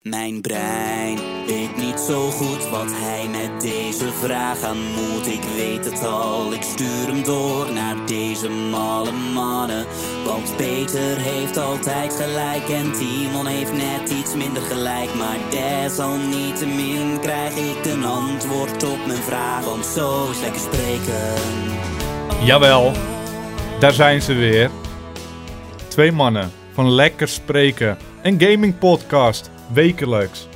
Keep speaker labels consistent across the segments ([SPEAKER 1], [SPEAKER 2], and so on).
[SPEAKER 1] Mijn brein weet niet zo goed wat hij met deze vraag aan moet. Ik weet het al, ik stuur hem door naar deze malle mannen. Want Peter heeft altijd gelijk en Timon heeft net iets minder gelijk. Maar desalniettemin krijg ik een antwoord op mijn vraag. Want zo is lekker spreken.
[SPEAKER 2] Jawel, daar zijn ze weer. Twee mannen van Lekker Spreken, een gaming podcast, wekelijks.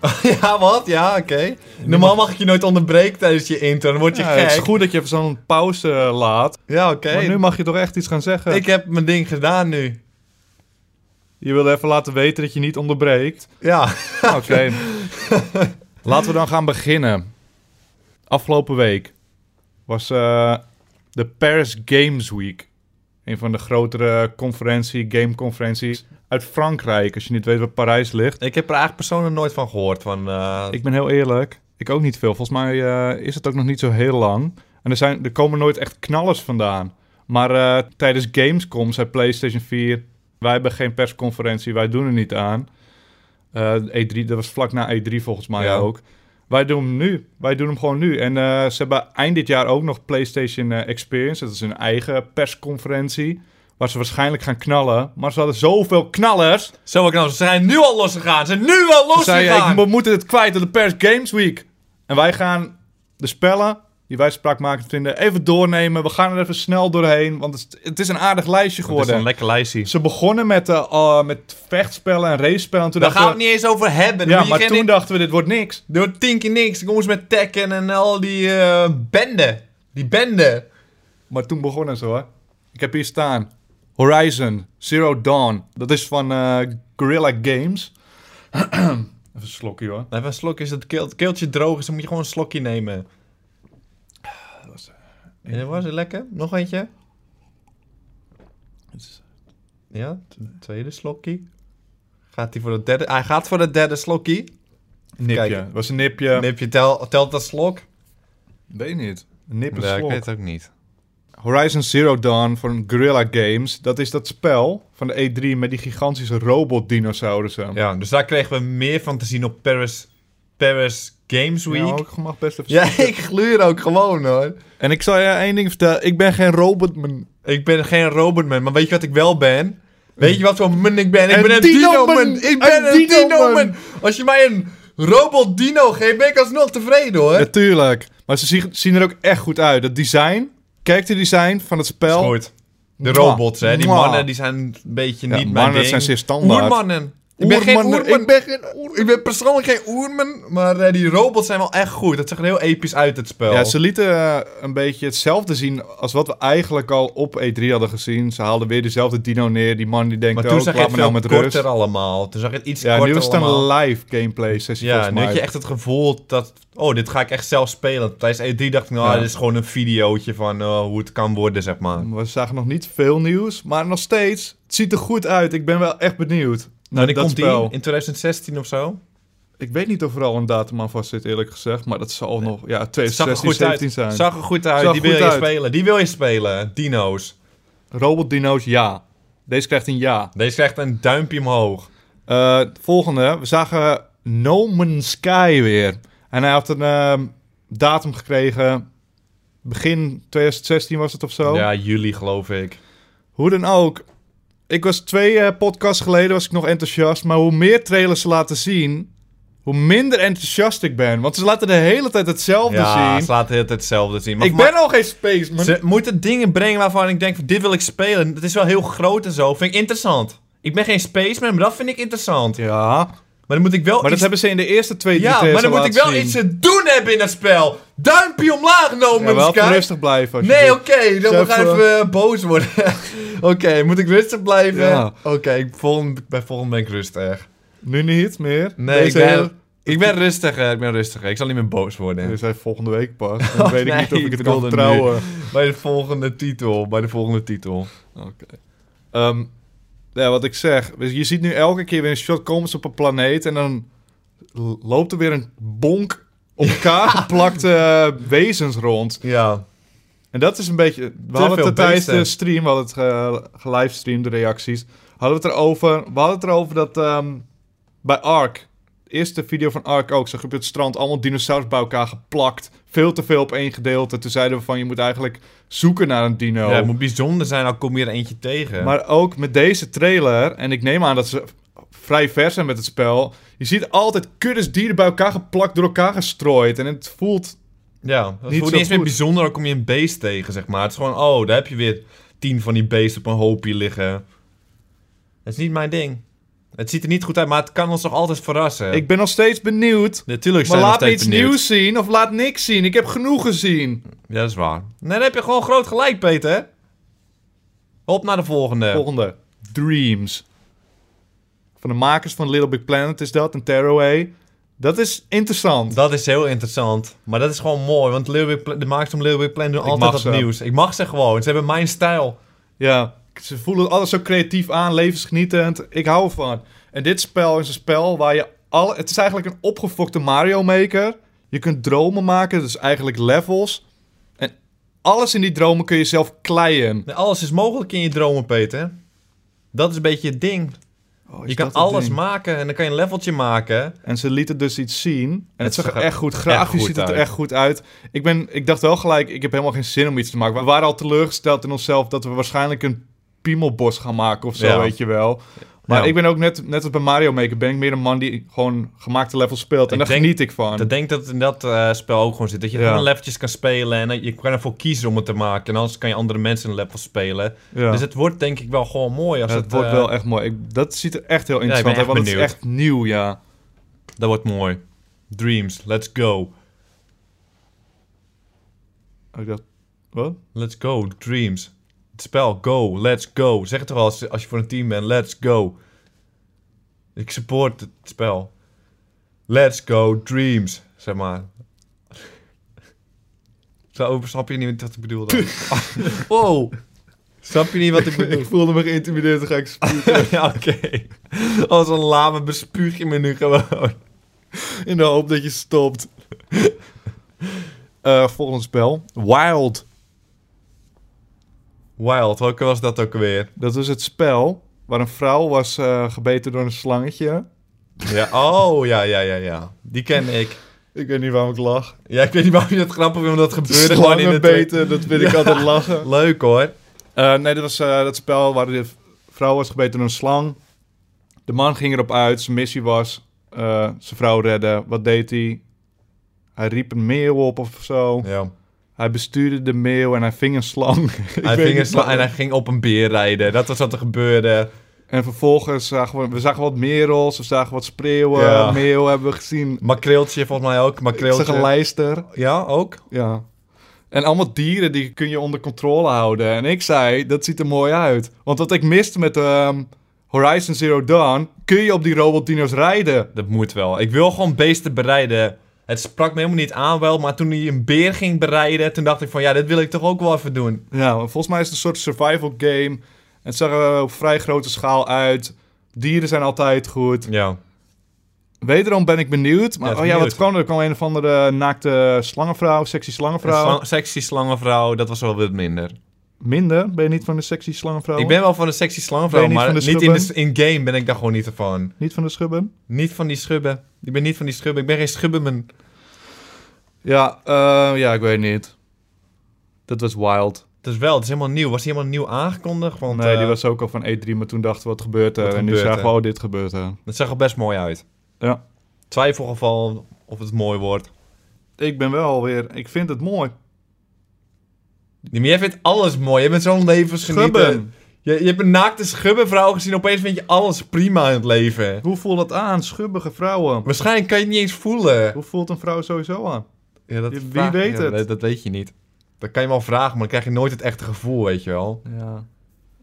[SPEAKER 3] Ja, wat? Ja, oké. Normaal mag ik je nooit onderbreken tijdens je intro, dan word je
[SPEAKER 2] Ja,
[SPEAKER 3] gek.
[SPEAKER 2] het is goed dat je even zo'n pauze eh, laat,
[SPEAKER 3] Ja, oké.
[SPEAKER 2] maar nu mag je toch echt iets gaan zeggen.
[SPEAKER 3] Ik heb mijn ding gedaan nu.
[SPEAKER 2] Je wilde even laten weten dat je niet onderbreekt.
[SPEAKER 3] Ja.
[SPEAKER 2] Oké. Laten we dan gaan beginnen. Afgelopen week was eh, de Paris Games Week. Een van de grotere conferentie, gameconferenties uit Frankrijk. Als je niet weet waar Parijs ligt.
[SPEAKER 3] Ik heb er eigenlijk persoonlijk nooit van gehoord. Van, eh,
[SPEAKER 2] Ik ben heel eerlijk. Ik ook niet veel. Volgens mij eh, is het ook nog niet zo heel lang. En er, zijn, er komen nooit echt knallers vandaan. Maar eh, tijdens Gamescom zei PlayStation 4... wij hebben geen persconferentie, wij doen er niet aan. Eh, E3, dat was vlak na E3 volgens mij
[SPEAKER 3] Ja.
[SPEAKER 2] ook. Wij doen hem nu. Wij doen hem gewoon nu. En eh, ze hebben eind dit jaar ook nog PlayStation eh, Experience. Dat is hun eigen persconferentie. Waar ze waarschijnlijk gaan knallen. Maar ze hadden zoveel knallers.
[SPEAKER 3] Zo wat ik nou, ze zijn nu al losgegaan. Ze zijn nu al
[SPEAKER 2] Toen zei je,
[SPEAKER 3] losgegaan.
[SPEAKER 2] ik, we moeten het kwijt aan de Pers Games Week. En wij gaan de spellen die wij spraakmakend vinden even doornemen. We gaan er even snel doorheen, want het is, het is een aardig lijstje
[SPEAKER 3] Het is
[SPEAKER 2] geworden.
[SPEAKER 3] een lekker lijstje.
[SPEAKER 2] Ze begonnen met, eh, ah, met vechtspellen en race-spellen. en Toen
[SPEAKER 3] Daar
[SPEAKER 2] dachten
[SPEAKER 3] gaan we het
[SPEAKER 2] we,
[SPEAKER 3] niet eens over hebben.
[SPEAKER 2] ja,
[SPEAKER 3] Doe je
[SPEAKER 2] maar
[SPEAKER 3] geen-
[SPEAKER 2] toen dachten we, dit wordt niks.
[SPEAKER 3] Door tien keer niks. Ik kom eens met Tekken en al die eh bende. Die bende.
[SPEAKER 2] Maar toen begonnen ze hoor. Ik heb hier staan. Horizon Zero Dawn. Dat is van eh, Guerrilla Games. even een slokje hoor.
[SPEAKER 3] Even een slokje, als het keel- keeltje droog is, dan moet je gewoon een slokje nemen. En dat was het lekker? Nog eentje? Ja, t- tweede slokje. Gaat hij voor de derde? Hij gaat voor de derde slokje.
[SPEAKER 2] Nipje.
[SPEAKER 3] kijken.
[SPEAKER 2] Het was een nipje.
[SPEAKER 3] Nip je tel, telt dat slok?
[SPEAKER 2] Weet niet. Een nip is
[SPEAKER 3] Ja,
[SPEAKER 2] slok.
[SPEAKER 3] het ook niet.
[SPEAKER 2] Horizon Zero Dawn van Guerrilla Games. Dat is dat spel van de E3 met die gigantische robotdinosaurussen.
[SPEAKER 3] Ja, dus daar kregen we meer van te zien op Paris, Paris Games Week.
[SPEAKER 2] Nou, ik mag best even
[SPEAKER 3] ja, ik gluur ook gewoon hoor.
[SPEAKER 2] En ik zal je één ding vertellen. Ik ben geen robotman.
[SPEAKER 3] Ik ben geen robotman, maar weet je wat ik wel ben? Weet je wat voor man ik ben? Ik
[SPEAKER 2] Een
[SPEAKER 3] ben een
[SPEAKER 2] dinoman.
[SPEAKER 3] dinoman! Ik ben
[SPEAKER 2] Een
[SPEAKER 3] een,
[SPEAKER 2] dinoman.
[SPEAKER 3] dinoman! Als je mij een robot dino geeft, ben ik alsnog tevreden hoor.
[SPEAKER 2] Natuurlijk. Maar ze zien- zien er ook echt goed uit. Dat design. Kijk de design van het spel.
[SPEAKER 3] Goed. De
[SPEAKER 2] Mwah.
[SPEAKER 3] robots, hè. Die
[SPEAKER 2] Mwah.
[SPEAKER 3] mannen, die zijn een beetje
[SPEAKER 2] Ja,
[SPEAKER 3] niet mijn
[SPEAKER 2] mannen
[SPEAKER 3] ding.
[SPEAKER 2] zijn zeer standaard.
[SPEAKER 3] Oermannen. Ik ben geen
[SPEAKER 2] Oermannen.
[SPEAKER 3] oerman.
[SPEAKER 2] Ik
[SPEAKER 3] Ik ben, geen oerman. ik ben persoonlijk geen oerman, maar eh, die robots zijn wel echt goed. Dat zag er heel episch uit, het spel.
[SPEAKER 2] Ja, ze lieten eh, een beetje hetzelfde zien als wat we eigenlijk al op E3 hadden gezien. Ze haalden weer dezelfde dino neer. Die man die denkt
[SPEAKER 3] maar toen
[SPEAKER 2] ook,
[SPEAKER 3] zag je
[SPEAKER 2] laat
[SPEAKER 3] het
[SPEAKER 2] me nou
[SPEAKER 3] veel
[SPEAKER 2] met
[SPEAKER 3] korter
[SPEAKER 2] rust.
[SPEAKER 3] allemaal. Toen zag je het iets
[SPEAKER 2] Ja,
[SPEAKER 3] korter
[SPEAKER 2] nu was het
[SPEAKER 3] allemaal.
[SPEAKER 2] een live gameplay sessie
[SPEAKER 3] Ja,
[SPEAKER 2] volgens
[SPEAKER 3] nu
[SPEAKER 2] mij.
[SPEAKER 3] had je echt het gevoel dat... Oh, dit ga ik echt zelf spelen. Tijdens E3 dacht ik, nou,
[SPEAKER 2] Ja. Nou,
[SPEAKER 3] dit is gewoon een videootje van eh, hoe het kan worden, zeg maar.
[SPEAKER 2] We zagen nog niet veel nieuws, maar nog steeds. Het ziet er goed uit. Ik ben wel echt benieuwd.
[SPEAKER 3] Wanneer
[SPEAKER 2] dat
[SPEAKER 3] komt Nou, die?
[SPEAKER 2] spel.
[SPEAKER 3] In 2016 of zo?
[SPEAKER 2] Ik weet niet of er al een datum aan vast zit, eerlijk gezegd. Maar dat zal nog ja,
[SPEAKER 3] Het zag er
[SPEAKER 2] 2016,
[SPEAKER 3] goed uit.
[SPEAKER 2] 17 zijn.
[SPEAKER 3] Zag er goed uit.
[SPEAKER 2] Zag
[SPEAKER 3] die
[SPEAKER 2] goed
[SPEAKER 3] wil je
[SPEAKER 2] uit.
[SPEAKER 3] spelen. Die wil je spelen. Dino's.
[SPEAKER 2] Robot Dino's, ja. Deze krijgt een ja.
[SPEAKER 3] Deze krijgt een duimpje omhoog.
[SPEAKER 2] Eh, het volgende. We zagen No Man's Sky weer. En hij had een eh, datum gekregen. Begin 2016 was het of zo.
[SPEAKER 3] Ja, jullie geloof ik.
[SPEAKER 2] Hoe dan ook. Ik was twee eh, podcasts geleden was ik nog enthousiast. Maar hoe meer trailers ze laten zien, hoe minder enthousiast ik ben. Want ze laten de hele tijd hetzelfde
[SPEAKER 3] Ja,
[SPEAKER 2] zien.
[SPEAKER 3] ze laten het hetzelfde zien. Maar
[SPEAKER 2] ik
[SPEAKER 3] voor
[SPEAKER 2] ben al geen spaceman.
[SPEAKER 3] mij- Ze moeten dingen brengen waarvan ik denk, van, dit wil ik spelen. Het is wel heel groot en zo. Vind ik interessant. Ik ben geen spaceman, maar dat vind ik interessant.
[SPEAKER 2] Ja,
[SPEAKER 3] Maar dan moet ik wel
[SPEAKER 2] maar dat
[SPEAKER 3] iets...
[SPEAKER 2] hebben ze in de eerste twee drie
[SPEAKER 3] Ja,
[SPEAKER 2] trailers
[SPEAKER 3] maar dan
[SPEAKER 2] al
[SPEAKER 3] moet ik wel
[SPEAKER 2] laten
[SPEAKER 3] iets
[SPEAKER 2] zien.
[SPEAKER 3] te doen hebben in dat spel. Duimpje omlaag, No
[SPEAKER 2] Ja,
[SPEAKER 3] Man's
[SPEAKER 2] wel even
[SPEAKER 3] Sky.
[SPEAKER 2] rustig blijven. als je
[SPEAKER 3] Nee,
[SPEAKER 2] doet.
[SPEAKER 3] oké, dan
[SPEAKER 2] Zo
[SPEAKER 3] mag ik
[SPEAKER 2] even-
[SPEAKER 3] even eh, boos worden. oké, moet ik rustig blijven?
[SPEAKER 2] Ja.
[SPEAKER 3] Oké, ik- volgende- bij volgende ben ik rustig.
[SPEAKER 2] Nu niet meer.
[SPEAKER 3] Nee,
[SPEAKER 2] Deze
[SPEAKER 3] ik ben,
[SPEAKER 2] hele-
[SPEAKER 3] ik ben rustiger, ik ben rustiger. Ik zal niet meer boos worden. Oh,
[SPEAKER 2] Dit zijn volgende week pas. Dan Dus weet ik
[SPEAKER 3] nee,
[SPEAKER 2] niet of ik
[SPEAKER 3] ik
[SPEAKER 2] het kan
[SPEAKER 3] bedoelde nu.
[SPEAKER 2] vertrouwen.
[SPEAKER 3] Bij de volgende titel, bij de volgende titel.
[SPEAKER 2] Ehm, ja, wat ik zeg. Dus je ziet nu elke keer weer een shot komen ze op een planeet. En dan l- loopt er weer een bonk op elkaar geplakte eh, wezens rond.
[SPEAKER 3] Ja.
[SPEAKER 2] En dat is een beetje... We
[SPEAKER 3] Te
[SPEAKER 2] hadden
[SPEAKER 3] veel
[SPEAKER 2] het tijdens de
[SPEAKER 3] beesten.
[SPEAKER 2] stream, we hadden het ge- gelivestreamd, de reacties. Hadden we het erover, we hadden het erover dat ehm, bij Ark, de eerste video van Ark ook, zag je op het strand allemaal dinosaurus bij elkaar geplakt. Veel te veel op één gedeelte. Toen zeiden we van, je moet eigenlijk zoeken naar een dino.
[SPEAKER 3] Ja, het moet bijzonder zijn, dan kom je er eentje tegen.
[SPEAKER 2] Maar ook met deze trailer, en ik neem aan dat ze vrij ver zijn met het spel. Je ziet altijd kuddes dieren bij elkaar geplakt, door elkaar gestrooid. En het voelt...
[SPEAKER 3] ja, dat voelt
[SPEAKER 2] niet
[SPEAKER 3] niet
[SPEAKER 2] zo
[SPEAKER 3] eens meer
[SPEAKER 2] goed.
[SPEAKER 3] bijzonder, dan kom je een beest tegen, zeg maar. Het is gewoon, oh, daar heb je weer tien van die beesten op een hoopje liggen. Dat is niet mijn ding. Het ziet er niet goed uit, maar het kan ons nog altijd verrassen.
[SPEAKER 2] Ik ben nog steeds benieuwd.
[SPEAKER 3] Natuurlijk
[SPEAKER 2] Maar
[SPEAKER 3] zijn we
[SPEAKER 2] laat
[SPEAKER 3] nog
[SPEAKER 2] me
[SPEAKER 3] steeds
[SPEAKER 2] iets
[SPEAKER 3] benieuwd.
[SPEAKER 2] nieuws zien of laat niks zien. Ik heb genoeg gezien.
[SPEAKER 3] Ja, dat is waar. Nee, dan heb je gewoon groot gelijk, Peter. Op naar de volgende.
[SPEAKER 2] Volgende. Dreams. Van de makers van Little Big Planet is dat. En Tearaway. Dat is interessant.
[SPEAKER 3] Dat is heel interessant. Maar dat is gewoon mooi, want Little Big Pla- de makers van Little Big Planet doen altijd
[SPEAKER 2] mag
[SPEAKER 3] dat
[SPEAKER 2] ze.
[SPEAKER 3] nieuws. Ik mag ze gewoon. Ze hebben mijn stijl.
[SPEAKER 2] Ja. Ze voelen alles zo creatief aan. Levensgenietend. Ik hou ervan. En dit spel is een spel waar je... Alle, het is eigenlijk een opgefokte Mario Maker. Je kunt dromen maken. Dus eigenlijk levels. En alles in die dromen kun je zelf kleien.
[SPEAKER 3] Nee, Alles is mogelijk in je dromen, Peter. Dat is een beetje het ding.
[SPEAKER 2] Oh, is
[SPEAKER 3] Je kan
[SPEAKER 2] dat het
[SPEAKER 3] alles
[SPEAKER 2] ding?
[SPEAKER 3] maken en dan kan je een leveltje maken.
[SPEAKER 2] En ze lieten dus iets zien. En het,
[SPEAKER 3] Het
[SPEAKER 2] zag
[SPEAKER 3] zag
[SPEAKER 2] er
[SPEAKER 3] er
[SPEAKER 2] echt goed.
[SPEAKER 3] echt
[SPEAKER 2] Grafisch
[SPEAKER 3] goed
[SPEAKER 2] ziet het er
[SPEAKER 3] uit.
[SPEAKER 2] echt goed uit. Ik, ben, ik dacht wel gelijk, ik heb helemaal geen zin om iets te maken. We waren al teleurgesteld in onszelf dat we waarschijnlijk een piemelbos gaan maken of zo,
[SPEAKER 3] Ja.
[SPEAKER 2] weet je wel. Maar
[SPEAKER 3] Ja.
[SPEAKER 2] ik ben ook net, net als bij Mario Maker, ben ik meer een man die gewoon gemaakte levels speelt. En
[SPEAKER 3] Ik
[SPEAKER 2] daar
[SPEAKER 3] denk
[SPEAKER 2] geniet ik van.
[SPEAKER 3] Ik denk dat het in dat eh, spel ook gewoon zit. Dat je
[SPEAKER 2] Ja.
[SPEAKER 3] gewoon leveltjes kan spelen en eh, je kan ervoor kiezen om het te maken. En anders kan je andere mensen een level spelen.
[SPEAKER 2] Ja.
[SPEAKER 3] Dus het wordt denk ik wel gewoon mooi. Als
[SPEAKER 2] Ja, het,
[SPEAKER 3] het,
[SPEAKER 2] wordt
[SPEAKER 3] eh,
[SPEAKER 2] wel echt mooi. Ik- dat ziet er echt heel
[SPEAKER 3] ik ben
[SPEAKER 2] interessant uit,
[SPEAKER 3] echt
[SPEAKER 2] want het is
[SPEAKER 3] benieuwd.
[SPEAKER 2] echt nieuw, ja.
[SPEAKER 3] Dat wordt mooi. Dreams, let's go.
[SPEAKER 2] Oh, Ik dacht, wat?
[SPEAKER 3] Let's go, dreams. Het spel, go, let's go. Zeg het toch al als, als je voor een team bent, let's go. Ik support het spel. Let's go, dreams, zeg maar. Zo, snap je niet wat ik bedoel dan? wow. Snap je niet wat ik bedoel?
[SPEAKER 2] Ik voelde me geïntimideerd, dan ga ik
[SPEAKER 3] ja, oké. Als een lame bespuug je me nu gewoon.
[SPEAKER 2] in de hoop dat je stopt. Eh volgend spel, Wild.
[SPEAKER 3] Wild, welke was dat ook weer?
[SPEAKER 2] Dat is het spel waar een vrouw was eh, gebeten door een slangetje.
[SPEAKER 3] Ja, oh, ja, ja, ja, ja. Die ken ik.
[SPEAKER 2] Ik weet niet waarom ik lach.
[SPEAKER 3] Ja, ik weet niet waarom je dat grappig vindt, omdat het gebeurde gewoon in de
[SPEAKER 2] Slangen
[SPEAKER 3] tweede-
[SPEAKER 2] beten, dat vind ik altijd lachen.
[SPEAKER 3] Leuk hoor.
[SPEAKER 2] Eh, nee, dat was eh, dat spel waar de vrouw was gebeten door een slang. De man ging erop uit, zijn missie was eh, zijn vrouw redden. Wat deed hij? Hij riep een meeuw op of zo.
[SPEAKER 3] Ja.
[SPEAKER 2] Hij bestuurde de meeuw en hij ving een slang. Ik
[SPEAKER 3] Hij
[SPEAKER 2] weet
[SPEAKER 3] ging
[SPEAKER 2] niet
[SPEAKER 3] een sla- en
[SPEAKER 2] waarom.
[SPEAKER 3] hij ging op een beer rijden. Dat was wat er gebeurde.
[SPEAKER 2] En vervolgens zagen we, we zagen wat merels, we zagen wat spreeuwen.
[SPEAKER 3] Ja.
[SPEAKER 2] Meeuw hebben we gezien.
[SPEAKER 3] Makreeltje volgens mij ook.
[SPEAKER 2] Ik zag een
[SPEAKER 3] Makreeltje.
[SPEAKER 2] lijster.
[SPEAKER 3] Ja, ook.
[SPEAKER 2] Ja. En allemaal dieren die kun je onder controle houden. En ik zei, dat ziet er mooi uit. Want wat ik miste met ehm, Horizon Zero Dawn... kun je op die robotdino's rijden.
[SPEAKER 3] Dat moet wel. Ik wil gewoon beesten bereiden. Het sprak me helemaal niet aan wel, maar toen hij een beer ging bereiden, toen dacht ik van ja, dit wil ik toch ook wel even doen.
[SPEAKER 2] Ja, maar volgens mij is het een soort survival game. En het zag er op vrij grote schaal uit. Dieren zijn altijd goed.
[SPEAKER 3] Ja.
[SPEAKER 2] Wederom ben ik benieuwd. Maar
[SPEAKER 3] Ja,
[SPEAKER 2] oh ja, wat
[SPEAKER 3] benieuwd.
[SPEAKER 2] kwam er? Er kwam een of andere naakte slangenvrouw, sexy slangenvrouw.
[SPEAKER 3] Slang- sexy slangenvrouw, dat was wel wat minder.
[SPEAKER 2] Minder? Ben je niet van de sexy slangenvrouw?
[SPEAKER 3] Ik ben wel van de sexy slangenvrouw,
[SPEAKER 2] Ben je niet van
[SPEAKER 3] maar
[SPEAKER 2] de
[SPEAKER 3] niet in, de,
[SPEAKER 2] schubben?
[SPEAKER 3] in game ben ik daar gewoon niet van.
[SPEAKER 2] Niet van de schubben?
[SPEAKER 3] Niet van die schubben. Ik ben niet van die schubben. Ik ben geen schubbenman.
[SPEAKER 2] Ja, eh, ja, ik weet niet. Dat was wild.
[SPEAKER 3] Dat is wel, het is helemaal nieuw. Was hij helemaal nieuw aangekondigd? Want,
[SPEAKER 2] nee,
[SPEAKER 3] eh,
[SPEAKER 2] die was ook al van E3, maar toen dachten we, wat gebeurt er?
[SPEAKER 3] Wat
[SPEAKER 2] en nu
[SPEAKER 3] gebeurt
[SPEAKER 2] zagen we,
[SPEAKER 3] er?
[SPEAKER 2] oh, dit gebeurt er.
[SPEAKER 3] Dat zag er best mooi uit.
[SPEAKER 2] Ja.
[SPEAKER 3] Twijfelgeval of het mooi wordt.
[SPEAKER 2] Ik ben wel weer, ik vind het mooi.
[SPEAKER 3] Ja, Maar jij vindt alles mooi. Je bent zo'n levensgenieter.
[SPEAKER 2] Schubben.
[SPEAKER 3] Je, je hebt een naakte schubbenvrouw gezien. Opeens vind je alles prima in het leven.
[SPEAKER 2] Hoe voelt dat aan, schubbige vrouwen?
[SPEAKER 3] Waarschijnlijk kan je het niet eens voelen.
[SPEAKER 2] Hoe voelt een vrouw sowieso aan?
[SPEAKER 3] Ja, dat
[SPEAKER 2] Wie- wie
[SPEAKER 3] vraag-
[SPEAKER 2] weet
[SPEAKER 3] ja,
[SPEAKER 2] het?
[SPEAKER 3] Dat, dat weet je niet. Dat kan je wel vragen, maar dan krijg je nooit het echte gevoel, weet je wel.
[SPEAKER 2] Ja.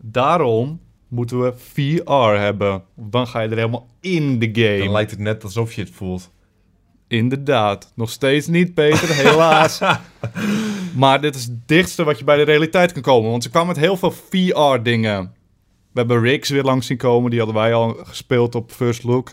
[SPEAKER 2] Daarom moeten we VR hebben. Dan ga je er helemaal in de game.
[SPEAKER 3] Dan lijkt het net alsof je het voelt.
[SPEAKER 2] Inderdaad. Nog steeds niet, Peter, helaas. maar dit is het dichtste wat je bij de realiteit kan komen. Want ze kwamen met heel veel VR-dingen. We hebben Rigs weer langs zien komen. Die hadden wij al gespeeld op First Look.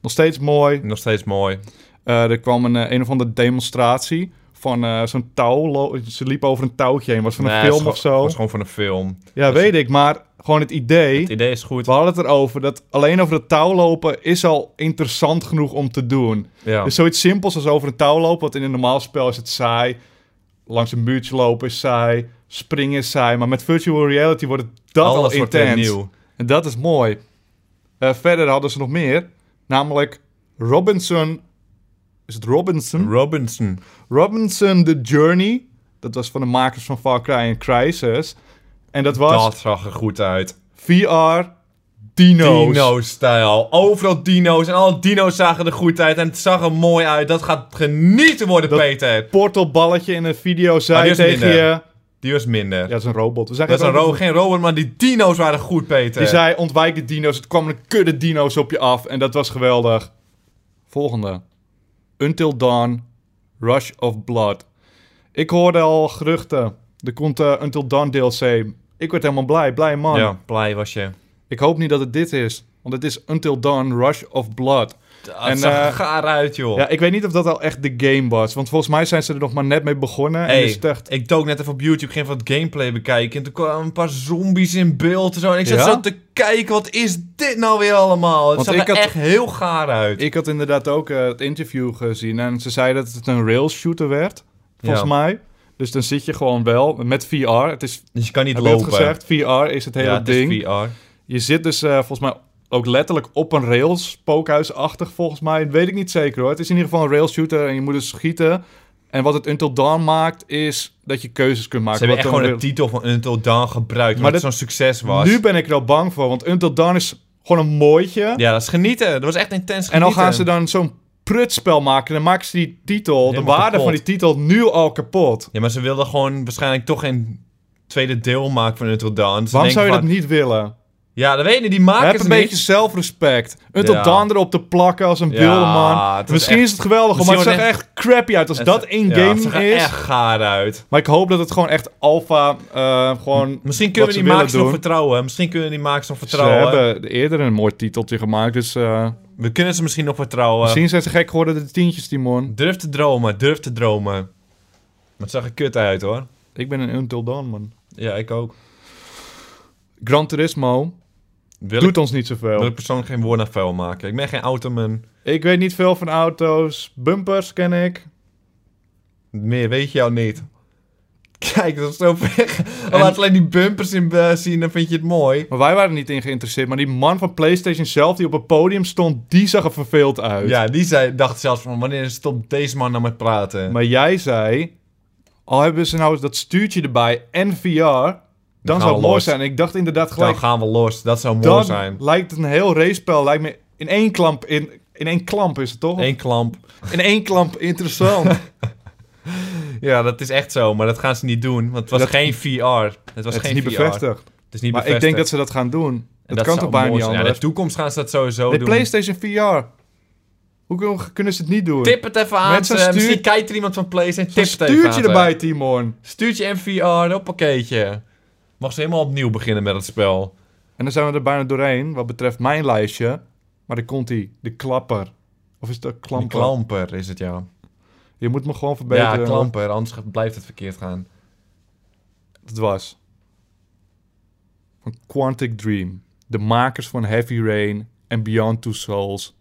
[SPEAKER 2] Nog steeds mooi.
[SPEAKER 3] Nog steeds mooi.
[SPEAKER 2] Eh, er kwam een, eh, een of andere demonstratie van eh, zo'n touw. lo- Ze liep over een touwtje heen. Was van een
[SPEAKER 3] Nee, het
[SPEAKER 2] film
[SPEAKER 3] is
[SPEAKER 2] of
[SPEAKER 3] gewoon-
[SPEAKER 2] zo.
[SPEAKER 3] was gewoon van een film.
[SPEAKER 2] Ja, weet ik. Maar gewoon het idee.
[SPEAKER 3] Het idee is goed.
[SPEAKER 2] We hadden het erover dat alleen over het touw lopen is al interessant genoeg om te doen.
[SPEAKER 3] Ja.
[SPEAKER 2] Dus zoiets simpels als over een touw lopen, want in een normaal spel is het saai. Langs een muurtje lopen is saai. Springen is saai. Maar met virtual reality wordt het dat al
[SPEAKER 3] Alles wordt weer
[SPEAKER 2] intens.
[SPEAKER 3] nieuw.
[SPEAKER 2] En dat is mooi. Eh, verder hadden ze nog meer. Namelijk Robinson. Is het Robinson?
[SPEAKER 3] Robinson.
[SPEAKER 2] Robinson The Journey. Dat was van de makers van Far Cry en Crisis. En dat was
[SPEAKER 3] Dat zag er goed uit.
[SPEAKER 2] VR Dino's.
[SPEAKER 3] Dino-stijl. Overal dino's. En alle dino's zagen er goed uit. En het zag er mooi uit. Dat gaat genieten worden, Peter.
[SPEAKER 2] Portalballetje in een video
[SPEAKER 3] Maar
[SPEAKER 2] zei
[SPEAKER 3] die is
[SPEAKER 2] tegen
[SPEAKER 3] minder.
[SPEAKER 2] je...
[SPEAKER 3] Die was minder.
[SPEAKER 2] Ja, dat is een robot. We zijn
[SPEAKER 3] dat is een
[SPEAKER 2] geen
[SPEAKER 3] ro
[SPEAKER 2] robot.
[SPEAKER 3] geen robot, maar die dino's waren goed, Peter.
[SPEAKER 2] Die zei, ontwijk de dino's. Het kwam een kudde dino's op je af. En dat was geweldig. Volgende. Until Dawn, Rush of Blood. Ik hoorde al geruchten. Er komt eh, Until Dawn DLC. Ik werd helemaal blij. Blij man.
[SPEAKER 3] Ja, blij was je.
[SPEAKER 2] Ik hoop niet dat het dit is. Want het is Until Dawn, Rush of Blood.
[SPEAKER 3] Dat
[SPEAKER 2] En,
[SPEAKER 3] zag er
[SPEAKER 2] eh,
[SPEAKER 3] gaar uit, joh.
[SPEAKER 2] Ja, ik weet niet of dat al echt de game was. Want volgens mij zijn ze er nog maar net mee begonnen. en
[SPEAKER 3] Hey,
[SPEAKER 2] is het echt...
[SPEAKER 3] ik dook net even op YouTube, ging even wat gameplay bekijken. En toen kwamen een paar zombies in beeld en zo. En ik zat
[SPEAKER 2] Ja?
[SPEAKER 3] zo te kijken, wat is dit nou weer allemaal? Het
[SPEAKER 2] Want
[SPEAKER 3] zag
[SPEAKER 2] ik
[SPEAKER 3] er
[SPEAKER 2] had-
[SPEAKER 3] echt heel gaar uit.
[SPEAKER 2] Ik had inderdaad ook eh, het interview gezien en ze zei dat het een rail shooter werd, volgens
[SPEAKER 3] Ja.
[SPEAKER 2] mij. Dus dan zit je gewoon wel met VR. Het is,
[SPEAKER 3] Dus je kan niet
[SPEAKER 2] heb je het
[SPEAKER 3] lopen.
[SPEAKER 2] gezegd? VR is het hele
[SPEAKER 3] ja, het is
[SPEAKER 2] ding.
[SPEAKER 3] VR.
[SPEAKER 2] Je zit dus eh, volgens mij ook letterlijk op een rail, spookhuisachtig volgens mij. Weet ik niet zeker hoor. Het is in ieder geval een rail shooter en je moet dus schieten. En wat het Until Dawn maakt, is dat je keuzes kunt maken.
[SPEAKER 3] Ze hebben echt
[SPEAKER 2] Wat
[SPEAKER 3] gewoon
[SPEAKER 2] dan
[SPEAKER 3] de titel van Until Dawn gebruikt,
[SPEAKER 2] Maar
[SPEAKER 3] omdat het zo'n succes was.
[SPEAKER 2] Nu ben ik er al bang voor, want Until Dawn is gewoon een mooitje.
[SPEAKER 3] Ja, dat is genieten. Dat was echt intens
[SPEAKER 2] En
[SPEAKER 3] genieten.
[SPEAKER 2] dan gaan ze dan zo'n prutspel maken. En dan maken ze die titel, de
[SPEAKER 3] Helemaal
[SPEAKER 2] waarde
[SPEAKER 3] kapot.
[SPEAKER 2] van die titel, nu al kapot.
[SPEAKER 3] Ja, maar ze wilden gewoon waarschijnlijk toch geen tweede deel maken van Until Dawn.
[SPEAKER 2] Waarom
[SPEAKER 3] Ze denken
[SPEAKER 2] zou je
[SPEAKER 3] van-
[SPEAKER 2] dat niet willen?
[SPEAKER 3] Ja, dat weet je niet. Die
[SPEAKER 2] Heb
[SPEAKER 3] maken
[SPEAKER 2] een
[SPEAKER 3] ze
[SPEAKER 2] beetje
[SPEAKER 3] niet.
[SPEAKER 2] zelfrespect. Until
[SPEAKER 3] Ja.
[SPEAKER 2] Dawn erop te plakken als een
[SPEAKER 3] Ja,
[SPEAKER 2] wilde
[SPEAKER 3] het
[SPEAKER 2] man.
[SPEAKER 3] is
[SPEAKER 2] Misschien
[SPEAKER 3] echt-
[SPEAKER 2] is het geweldig, hoor, maar het zag
[SPEAKER 3] misschien
[SPEAKER 2] er echt crappy uit als
[SPEAKER 3] Het-
[SPEAKER 2] dat in
[SPEAKER 3] ja, het
[SPEAKER 2] game
[SPEAKER 3] zag er
[SPEAKER 2] is.
[SPEAKER 3] echt gaar uit.
[SPEAKER 2] Maar ik hoop dat het gewoon echt alpha eh, gewoon
[SPEAKER 3] Misschien kunnen
[SPEAKER 2] wat
[SPEAKER 3] we
[SPEAKER 2] ze
[SPEAKER 3] die makers
[SPEAKER 2] willen
[SPEAKER 3] nog
[SPEAKER 2] doen.
[SPEAKER 3] vertrouwen. Misschien kunnen we die makers nog
[SPEAKER 2] Ze
[SPEAKER 3] vertrouwen.
[SPEAKER 2] hebben eerder een mooi titeltje gemaakt, dus eh,
[SPEAKER 3] We kunnen ze misschien nog vertrouwen.
[SPEAKER 2] misschien zijn ze gek geworden de tientjes, Timon.
[SPEAKER 3] Durf te dromen, durf te dromen. Maar het zag er kut uit hoor.
[SPEAKER 2] Ik ben een Until Dawn, man.
[SPEAKER 3] Ja, ik ook.
[SPEAKER 2] Gran Turismo
[SPEAKER 3] Wil,
[SPEAKER 2] doet
[SPEAKER 3] ik,
[SPEAKER 2] ons niet zoveel.
[SPEAKER 3] wil ik persoonlijk geen woord naar vuil maken. Ik ben geen automan.
[SPEAKER 2] Ik weet niet veel van auto's. Bumpers ken ik.
[SPEAKER 3] Meer weet je jou niet. Kijk, dat is zo weg. Laat alleen die bumpers in, eh, zien, dan vind je het mooi.
[SPEAKER 2] Maar wij waren niet in geïnteresseerd. Maar die man van PlayStation zelf die op het podium stond, die zag er verveeld uit.
[SPEAKER 3] Ja, die zei, dacht zelfs van, wanneer stopt deze man nou met praten?
[SPEAKER 2] Maar jij zei, al hebben ze nou dat stuurtje erbij en VR, dan,
[SPEAKER 3] gaan
[SPEAKER 2] zou
[SPEAKER 3] we
[SPEAKER 2] het mooi
[SPEAKER 3] los.
[SPEAKER 2] zijn. En ik dacht inderdaad
[SPEAKER 3] Dan
[SPEAKER 2] gelijk,
[SPEAKER 3] gaan we los, dat zou mooi
[SPEAKER 2] dan
[SPEAKER 3] zijn.
[SPEAKER 2] lijkt het een heel racepel. Lijkt me in één klamp, in, in één klamp is het toch?
[SPEAKER 3] Eén klamp.
[SPEAKER 2] In één klamp interessant.
[SPEAKER 3] Ja, dat is echt zo, maar dat gaan ze niet doen, want het was
[SPEAKER 2] Dat-
[SPEAKER 3] geen VR. Het was
[SPEAKER 2] het is
[SPEAKER 3] geen
[SPEAKER 2] niet
[SPEAKER 3] VR.
[SPEAKER 2] bevestigd.
[SPEAKER 3] Het is niet
[SPEAKER 2] Maar ik
[SPEAKER 3] bevestigd.
[SPEAKER 2] denk dat ze dat gaan doen.
[SPEAKER 3] En
[SPEAKER 2] Dat, kan
[SPEAKER 3] zou
[SPEAKER 2] toch bijna
[SPEAKER 3] mooi
[SPEAKER 2] niet
[SPEAKER 3] zijn.
[SPEAKER 2] anders?
[SPEAKER 3] Ja, in de toekomst gaan ze dat sowieso
[SPEAKER 2] Nee,
[SPEAKER 3] doen.
[SPEAKER 2] PlayStation VR. Hoe kun- kunnen ze het niet doen?
[SPEAKER 3] Tip het even aan.
[SPEAKER 2] Met zo'n
[SPEAKER 3] ze.
[SPEAKER 2] stuur-
[SPEAKER 3] Misschien kijkt er iemand van PlayStation. Tip
[SPEAKER 2] Een
[SPEAKER 3] het even aan
[SPEAKER 2] stuurtje
[SPEAKER 3] ze.
[SPEAKER 2] erbij, Timon.
[SPEAKER 3] Stuurtje en VR, op pakketje. Mag ze helemaal opnieuw beginnen met het spel.
[SPEAKER 2] En dan zijn we er bijna doorheen, wat betreft mijn lijstje. Maar dan komt die, de klapper. Of is dat
[SPEAKER 3] Klamper.
[SPEAKER 2] klamper?
[SPEAKER 3] Klamper is het, ja.
[SPEAKER 2] Je moet me gewoon verbeteren.
[SPEAKER 3] Ja, klamper, anders ge- blijft het verkeerd gaan.
[SPEAKER 2] Het was. Van Quantic Dream. De makers van Heavy Rain en Beyond Two Souls.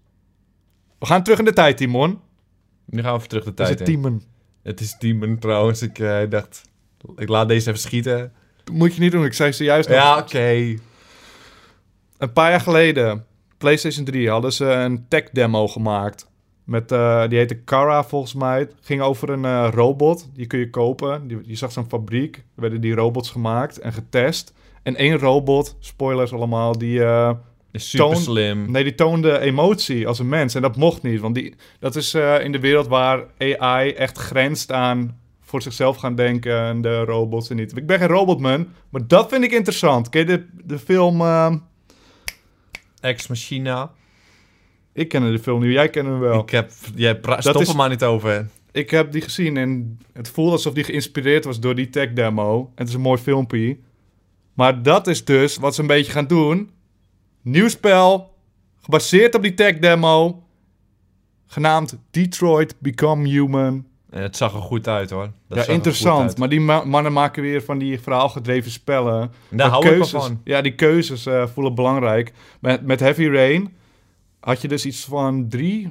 [SPEAKER 2] We gaan terug in de tijd, Timon.
[SPEAKER 3] Nu gaan we even terug de
[SPEAKER 2] Dat is
[SPEAKER 3] tijd
[SPEAKER 2] het
[SPEAKER 3] in.
[SPEAKER 2] Timon.
[SPEAKER 3] Het is Demon trouwens. Ik eh, dacht, ik laat deze even schieten.
[SPEAKER 2] Dat moet je niet doen, ik zei ze juist nog.
[SPEAKER 3] Ja, oké.
[SPEAKER 2] Een paar jaar geleden, PlayStation 3, hadden ze een tech-demo gemaakt. Met, eh, die heette Kara volgens mij. Het ging over een eh, robot, die kun je kopen. Die, je zag zo'n fabriek, er werden die robots gemaakt en getest. En één robot, spoilers allemaal, die, eh,
[SPEAKER 3] Is Super
[SPEAKER 2] Toon-
[SPEAKER 3] slim.
[SPEAKER 2] nee, die toonde emotie als een mens. En dat mocht niet, want die, dat is eh, in de wereld waar AI echt grenst aan voor zichzelf gaan denken en de robots en niet. Ik ben geen robotman, maar dat vind ik interessant. Ken je de, de film... ehm,
[SPEAKER 3] Ex Machina.
[SPEAKER 2] Ik ken de film nu, jij kent hem wel.
[SPEAKER 3] Ik heb, jij pra- stop
[SPEAKER 2] is-
[SPEAKER 3] er maar niet over.
[SPEAKER 2] Ik heb die gezien en het voelde alsof die geïnspireerd was door die tech demo. Het is een mooi filmpje. Maar dat is dus wat ze een beetje gaan doen. Nieuw spel, gebaseerd op die tech demo. Genaamd Detroit Become Human.
[SPEAKER 3] En het zag er goed uit hoor. Dat zag er
[SPEAKER 2] ja,
[SPEAKER 3] goed
[SPEAKER 2] interessant.
[SPEAKER 3] uit.
[SPEAKER 2] Maar die ma- mannen maken weer van die verhaalgedreven spellen.
[SPEAKER 3] Daar
[SPEAKER 2] Maar
[SPEAKER 3] hou ik wel
[SPEAKER 2] keuzes-
[SPEAKER 3] van.
[SPEAKER 2] Ja, die keuzes eh, voelen belangrijk. Met, met Heavy Rain had je dus iets van drie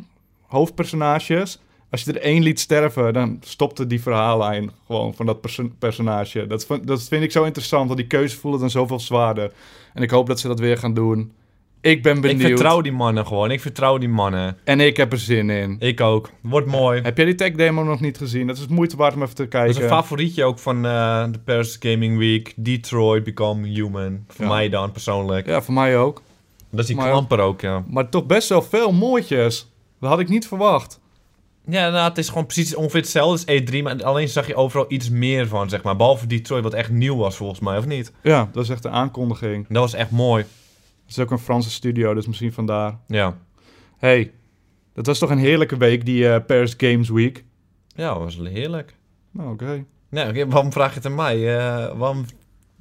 [SPEAKER 2] hoofdpersonages. Als je er één liet sterven, dan stopte die verhaallijn gewoon van dat perso- personage. Dat, vond- dat vind ik zo interessant, want die keuzes voelen dan zoveel zwaarder. En ik hoop dat ze dat weer gaan doen. Ik ben benieuwd.
[SPEAKER 3] Ik vertrouw die mannen gewoon. Ik vertrouw die mannen.
[SPEAKER 2] En ik heb er zin in.
[SPEAKER 3] Ik ook. Wordt mooi.
[SPEAKER 2] Heb jij die tech demo nog niet gezien? Dat is moeite waard om even te kijken.
[SPEAKER 3] Dat is een favorietje ook van eh, de Paris Gaming Week. Detroit Become Human. Voor
[SPEAKER 2] Ja.
[SPEAKER 3] mij dan persoonlijk.
[SPEAKER 2] ja, voor mij ook.
[SPEAKER 3] Dat is die
[SPEAKER 2] Maar-
[SPEAKER 3] klamper ook, ja.
[SPEAKER 2] Maar toch best wel veel mooitjes. Dat had ik niet verwacht.
[SPEAKER 3] Ja, nou, het is gewoon precies ongeveer hetzelfde als E3. Maar alleen zag je overal iets meer van, zeg maar. Behalve Detroit, wat echt nieuw was volgens mij, of niet?
[SPEAKER 2] Ja, dat is echt een aankondiging.
[SPEAKER 3] Dat was echt mooi.
[SPEAKER 2] Het is ook een Franse studio, dus misschien vandaar.
[SPEAKER 3] Ja.
[SPEAKER 2] hey, dat was toch een heerlijke week, die eh, Paris Games Week.
[SPEAKER 3] Ja, dat was heerlijk.
[SPEAKER 2] Nou, oké.
[SPEAKER 3] Nee, oké, waarom vraag je het aan mij? Eh, waarom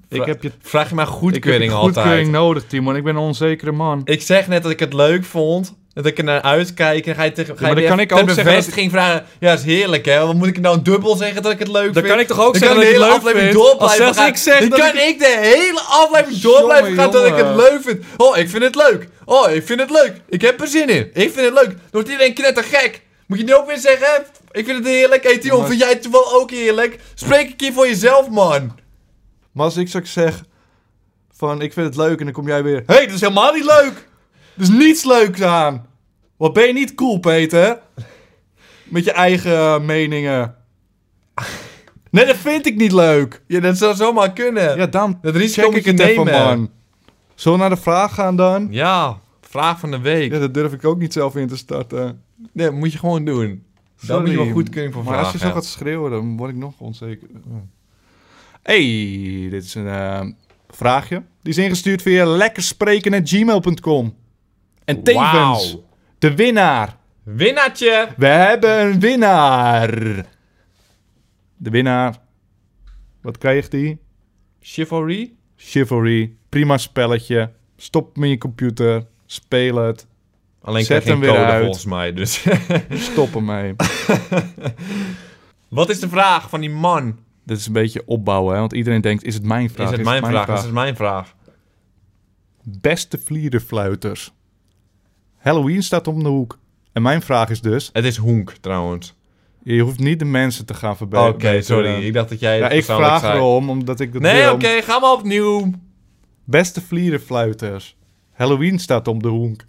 [SPEAKER 2] Ik heb je
[SPEAKER 3] vraag je mij
[SPEAKER 2] ik heb je
[SPEAKER 3] goedkeuring altijd?
[SPEAKER 2] goedkeuring nodig, Timon. Ik ben een onzekere man.
[SPEAKER 3] Ik zeg net dat ik het leuk vond. Dat ik er naar uitkijk. En ga je tegen. Ga
[SPEAKER 2] maar
[SPEAKER 3] je
[SPEAKER 2] dan
[SPEAKER 3] weer
[SPEAKER 2] kan ik
[SPEAKER 3] ter
[SPEAKER 2] ook zeggen dat-
[SPEAKER 3] bevestiging vragen. Ja, is heerlijk hè. Wat moet ik nou dubbel zeggen dat ik het leuk
[SPEAKER 2] Dan
[SPEAKER 3] vind?
[SPEAKER 2] kan ik toch ook
[SPEAKER 3] Dan
[SPEAKER 2] zeggen
[SPEAKER 3] kan
[SPEAKER 2] dat
[SPEAKER 3] ik
[SPEAKER 2] ik
[SPEAKER 3] de hele
[SPEAKER 2] het leuk
[SPEAKER 3] aflevering
[SPEAKER 2] vind?
[SPEAKER 3] door
[SPEAKER 2] Als
[SPEAKER 3] blijven
[SPEAKER 2] zelfs
[SPEAKER 3] gaan.
[SPEAKER 2] ik zeg
[SPEAKER 3] Dan
[SPEAKER 2] dat
[SPEAKER 3] kan
[SPEAKER 2] ik
[SPEAKER 3] ik de hele aflevering door blijven
[SPEAKER 2] Jongen,
[SPEAKER 3] gaan dat ik het
[SPEAKER 2] jongen.
[SPEAKER 3] leuk vind. Oh, ik vind het leuk. Oh, ik vind het leuk. Ik heb er zin in. Ik vind het leuk. Dan wordt iedereen knettergek. Moet je nu ook weer zeggen? hè? Ik vind het heerlijk. Ethion,
[SPEAKER 2] Maar-
[SPEAKER 3] vind jij het wel ook heerlijk? Spreek een keer voor jezelf, man.
[SPEAKER 2] Maar als ik straks zeg van ik vind het leuk en dan kom jij weer...
[SPEAKER 3] Hé, hey, dat is helemaal niet leuk.
[SPEAKER 2] Er is niets leuks aan. Wat ben je niet cool, Peter? Met je eigen eh, meningen. Nee, dat vind ik niet leuk.
[SPEAKER 3] Ja, dat zou zomaar kunnen.
[SPEAKER 2] Ja, dan
[SPEAKER 3] Dat risico
[SPEAKER 2] check
[SPEAKER 3] moet
[SPEAKER 2] ik
[SPEAKER 3] je
[SPEAKER 2] het even,
[SPEAKER 3] nemen.
[SPEAKER 2] man. Zullen we naar de vraag gaan dan?
[SPEAKER 3] Ja, vraag van de week.
[SPEAKER 2] Ja, dat durf ik ook niet zelf in te starten.
[SPEAKER 3] Nee, moet je gewoon doen. Daar
[SPEAKER 2] Sorry,
[SPEAKER 3] moet je wel goedkeuring voor
[SPEAKER 2] Maar
[SPEAKER 3] vragen.
[SPEAKER 2] als je zo gaat schreeuwen, dan word ik nog onzeker. Hey, dit is een eh, vraagje. Die is ingestuurd via lekkerspreken.gmail.com. En tevens,
[SPEAKER 3] Wauw.
[SPEAKER 2] de winnaar.
[SPEAKER 3] Winnaartje!
[SPEAKER 2] We hebben een winnaar. De winnaar. Wat kreeg die?
[SPEAKER 3] Chivalry?
[SPEAKER 2] Chivalry. Prima spelletje. Stop met je computer. Speel het.
[SPEAKER 3] Alleen
[SPEAKER 2] Zet
[SPEAKER 3] krijg je
[SPEAKER 2] hem
[SPEAKER 3] geen
[SPEAKER 2] weer
[SPEAKER 3] code
[SPEAKER 2] uit.
[SPEAKER 3] volgens mij, dus...
[SPEAKER 2] Stop ermee.
[SPEAKER 3] Wat is de vraag van die man?
[SPEAKER 2] Dit is een beetje opbouwen, hè? want iedereen denkt: is het mijn
[SPEAKER 3] Is
[SPEAKER 2] vraag?
[SPEAKER 3] het mijn vraag? Is het mijn vraag?
[SPEAKER 2] Beste vlierenfluiters. Halloween staat om de hoek. En mijn vraag is dus:
[SPEAKER 3] Het is Honk, trouwens.
[SPEAKER 2] je hoeft niet de mensen te gaan
[SPEAKER 3] Oké,
[SPEAKER 2] verbeteren.
[SPEAKER 3] sorry. Ik dacht dat jij het
[SPEAKER 2] Ja, ik
[SPEAKER 3] persoonlijk
[SPEAKER 2] vraag
[SPEAKER 3] zei.
[SPEAKER 2] erom, omdat ik dat
[SPEAKER 3] Nee,
[SPEAKER 2] wil.
[SPEAKER 3] oké, ga maar opnieuw.
[SPEAKER 2] Beste vlierenfluiters, Halloween staat om de hoek.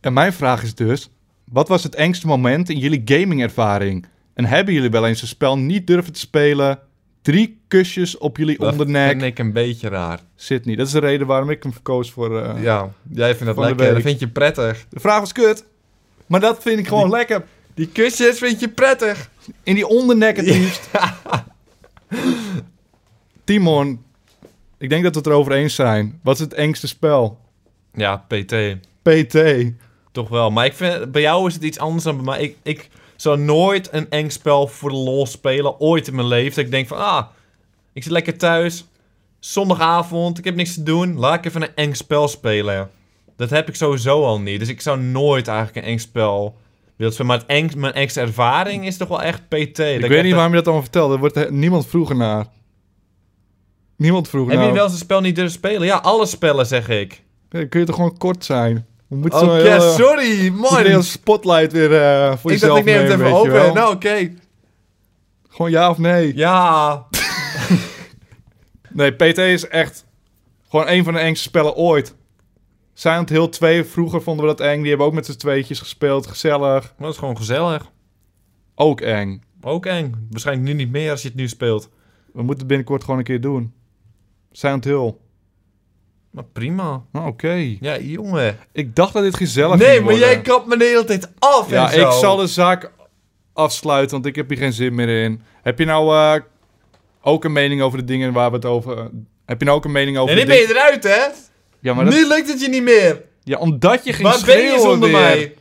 [SPEAKER 2] en mijn vraag is dus, wat was het engste moment in jullie gamingervaring? En hebben jullie wel eens een spel niet durven te spelen? Drie kusjes op jullie
[SPEAKER 3] Dat
[SPEAKER 2] ondernek.
[SPEAKER 3] vind ik een beetje raar.
[SPEAKER 2] Zit niet. Dat is de reden waarom ik hem verkoos voor... eh,
[SPEAKER 3] Ja, jij vindt dat
[SPEAKER 2] Van de
[SPEAKER 3] lekker. Dat
[SPEAKER 2] week.
[SPEAKER 3] vind je prettig.
[SPEAKER 2] De vraag was kut. Maar dat vind ik gewoon lekker.
[SPEAKER 3] Die kusjes vind je prettig.
[SPEAKER 2] In die ondernek het liefst. Timon, ik denk dat we het erover eens zijn. Wat is het engste spel?
[SPEAKER 3] Ja, PT.
[SPEAKER 2] PT.
[SPEAKER 3] Toch wel. Maar ik vind, bij jou is het iets anders dan bij mij. Ik, ik zou nooit een eng spel voor de lol spelen. Ooit in mijn leven. Dat ik denk van, ah, ik zit lekker thuis. Zondagavond, ik heb niks te doen. Laat ik even een eng spel spelen. Dat heb ik sowieso al niet. Dus ik zou nooit eigenlijk een eng spel willen spelen. Maar het eng, mijn engste ervaring is toch wel echt PT.
[SPEAKER 2] Ik,
[SPEAKER 3] Dat echt
[SPEAKER 2] weet niet
[SPEAKER 3] een-
[SPEAKER 2] waarom je dat allemaal vertelt. Er wordt he- niemand vroeger naar. Niemand vroeg
[SPEAKER 3] Heb
[SPEAKER 2] naar.
[SPEAKER 3] je wel eens een spel niet durven spelen? Ja, alle spellen zeg ik.
[SPEAKER 2] Ja, Kun je toch gewoon kort zijn? We moeten
[SPEAKER 3] Oké,
[SPEAKER 2] zo'n heel, eh,
[SPEAKER 3] Oh, sorry,
[SPEAKER 2] moet
[SPEAKER 3] man.
[SPEAKER 2] je heel spotlight weer eh, voor
[SPEAKER 3] Ik dacht,
[SPEAKER 2] jezelf
[SPEAKER 3] ik neem het
[SPEAKER 2] nemen,
[SPEAKER 3] even
[SPEAKER 2] weet je
[SPEAKER 3] over.
[SPEAKER 2] wel.
[SPEAKER 3] Nou, oké.
[SPEAKER 2] Gewoon ja of nee.
[SPEAKER 3] Ja.
[SPEAKER 2] Nee, PT is echt gewoon een van de engste spellen ooit. Silent Hill 2, vroeger vonden we dat eng. Die hebben ook met z'n tweetjes gespeeld. Gezellig.
[SPEAKER 3] Maar dat is gewoon gezellig.
[SPEAKER 2] Ook eng.
[SPEAKER 3] Ook eng. Waarschijnlijk nu niet meer als je het nu speelt.
[SPEAKER 2] We moeten het binnenkort gewoon een keer doen. Silent Hill.
[SPEAKER 3] Maar prima.
[SPEAKER 2] Nou, Oké.
[SPEAKER 3] Ja, jongen.
[SPEAKER 2] Ik dacht dat dit gezellig
[SPEAKER 3] Oh, nee,
[SPEAKER 2] ging
[SPEAKER 3] maar
[SPEAKER 2] worden.
[SPEAKER 3] jij kapt me de hele tijd af
[SPEAKER 2] Ja,
[SPEAKER 3] en zo.
[SPEAKER 2] ik zal de zaak afsluiten, want ik heb hier geen zin meer in. Heb je nou eh, ook een mening over de dingen waar we het over... Heb je nou ook een mening over
[SPEAKER 3] En
[SPEAKER 2] de
[SPEAKER 3] nu ben je
[SPEAKER 2] dingen-
[SPEAKER 3] eruit, hè?
[SPEAKER 2] Ja, maar dat-
[SPEAKER 3] Nu lukt het je niet meer.
[SPEAKER 2] ja, omdat je ging
[SPEAKER 3] Waar ben je
[SPEAKER 2] schreeuwen
[SPEAKER 3] zonder
[SPEAKER 2] weer.
[SPEAKER 3] mij?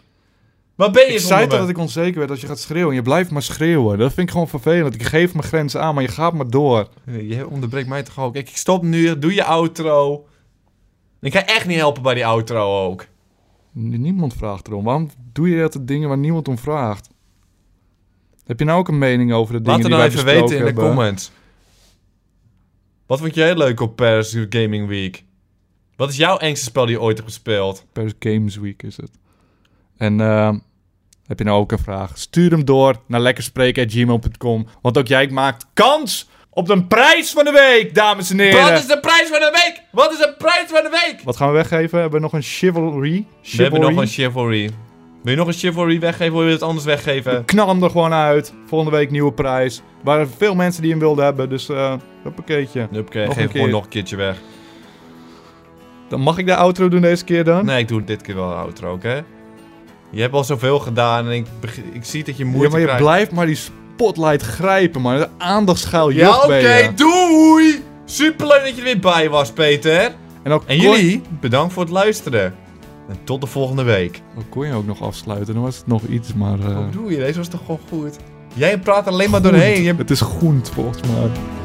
[SPEAKER 3] Waar ben je
[SPEAKER 2] Ik
[SPEAKER 3] zonder
[SPEAKER 2] zei toch
[SPEAKER 3] mij?
[SPEAKER 2] dat ik onzeker werd als je gaat schreeuwen. En je blijft maar schreeuwen. Dat vind ik gewoon vervelend. Ik geef mijn grenzen aan, maar je gaat maar door.
[SPEAKER 3] Je onderbreekt mij toch ook. Kijk, ik stop nu. Doe je outro. Ik ga echt niet helpen bij die outro ook.
[SPEAKER 2] N- Niemand vraagt erom. Waarom doe je dat dingen waar niemand om vraagt? Heb je nou ook een mening over de dingen
[SPEAKER 3] Laat het
[SPEAKER 2] die
[SPEAKER 3] nou
[SPEAKER 2] wij
[SPEAKER 3] even weten in
[SPEAKER 2] besproken
[SPEAKER 3] de
[SPEAKER 2] hebben?
[SPEAKER 3] comments. Wat vond jij leuk op Paris Gaming Week? Wat is jouw engste spel die je ooit hebt gespeeld?
[SPEAKER 2] Paris Games Week is het. En ehm, heb je nou ook een vraag? Stuur hem door naar lekkerspreken.gmail.com. Want ook jij maakt kans op de prijs van de week, dames en heren.
[SPEAKER 3] Wat is de prijs van de week? Wat is de prijs van de week?
[SPEAKER 2] Wat gaan we weggeven? Hebben we nog een chivalry?
[SPEAKER 3] We hebben nog een
[SPEAKER 2] Chivalry?
[SPEAKER 3] chivalry. Wil je nog een chivalry weggeven? Wil je het anders weggeven?
[SPEAKER 2] Knal hem er gewoon uit. Volgende week nieuwe prijs. Er waren veel mensen die hem wilden hebben, dus eh een pakketje.
[SPEAKER 3] Huppakee,
[SPEAKER 2] Nog een
[SPEAKER 3] geef het gewoon
[SPEAKER 2] keer.
[SPEAKER 3] nog een keertje weg.
[SPEAKER 2] Dan mag ik de outro doen deze keer dan?
[SPEAKER 3] Nee, ik doe dit keer wel een outro, oké? Je hebt al zoveel gedaan en ik, beg- ik zie dat je moeite
[SPEAKER 2] ja, maar je
[SPEAKER 3] krijgt.
[SPEAKER 2] blijft maar die spotlight grijpen, man. De aandachtschuil,
[SPEAKER 3] Ja, oké,
[SPEAKER 2] ben je.
[SPEAKER 3] doei! Superleuk dat je er weer bij was, Peter.
[SPEAKER 2] En, ook
[SPEAKER 3] En jullie, bedankt voor het luisteren. En tot de volgende week.
[SPEAKER 2] Kon, oh, kon je ook nog afsluiten, dan was het nog iets, maar... eh,
[SPEAKER 3] Wat doe je? Deze was toch gewoon goed? Jij praat er alleen Oh, maar
[SPEAKER 2] goed.
[SPEAKER 3] doorheen. Je
[SPEAKER 2] Het is groen, volgens mij.